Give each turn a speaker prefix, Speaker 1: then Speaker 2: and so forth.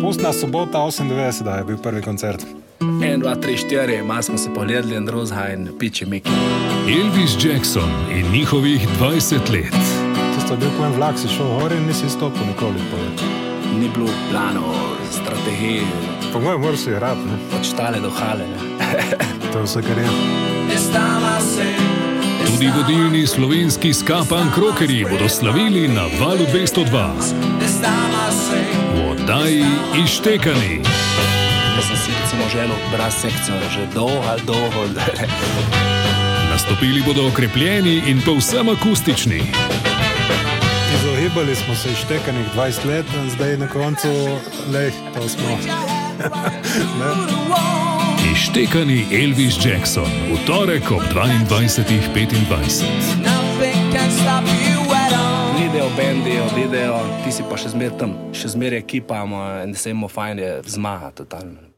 Speaker 1: Pustna sobota 98 je bil prvi koncert.
Speaker 2: 1, 2, 3, 4, malo smo se pogledali in drozha in piči miki.
Speaker 3: Elvis Jackson in njihovih 20 let.
Speaker 1: Tisto je bil, ko en vlak si šel gor in nisi stopil nikoli poje.
Speaker 2: Ni bilo planov, strategij,
Speaker 1: Po mojem moraš si igrati, ne?
Speaker 2: od štale do hale. ne.
Speaker 1: to je vse, kar je.
Speaker 3: Tudi vodilni slovenski skapan krokerji bodo slavili na valu 202 v oddaji Ištekani.
Speaker 2: Jaz sem si recimo želel brati sekcijo že dolgo ali dolgo.
Speaker 3: Nastopili bodo okrepljeni in povsem akustični.
Speaker 1: Izogibali smo se ištekanih 20 let, in zdaj na koncu le to smo.
Speaker 3: Ištekani Elvis Jackson v torek ob 22.25.
Speaker 2: Pridejo bendi, odidejo, ti si pa še zmeraj tam, še zmeraj ekipa, in se jim fajn je zmaga totalno.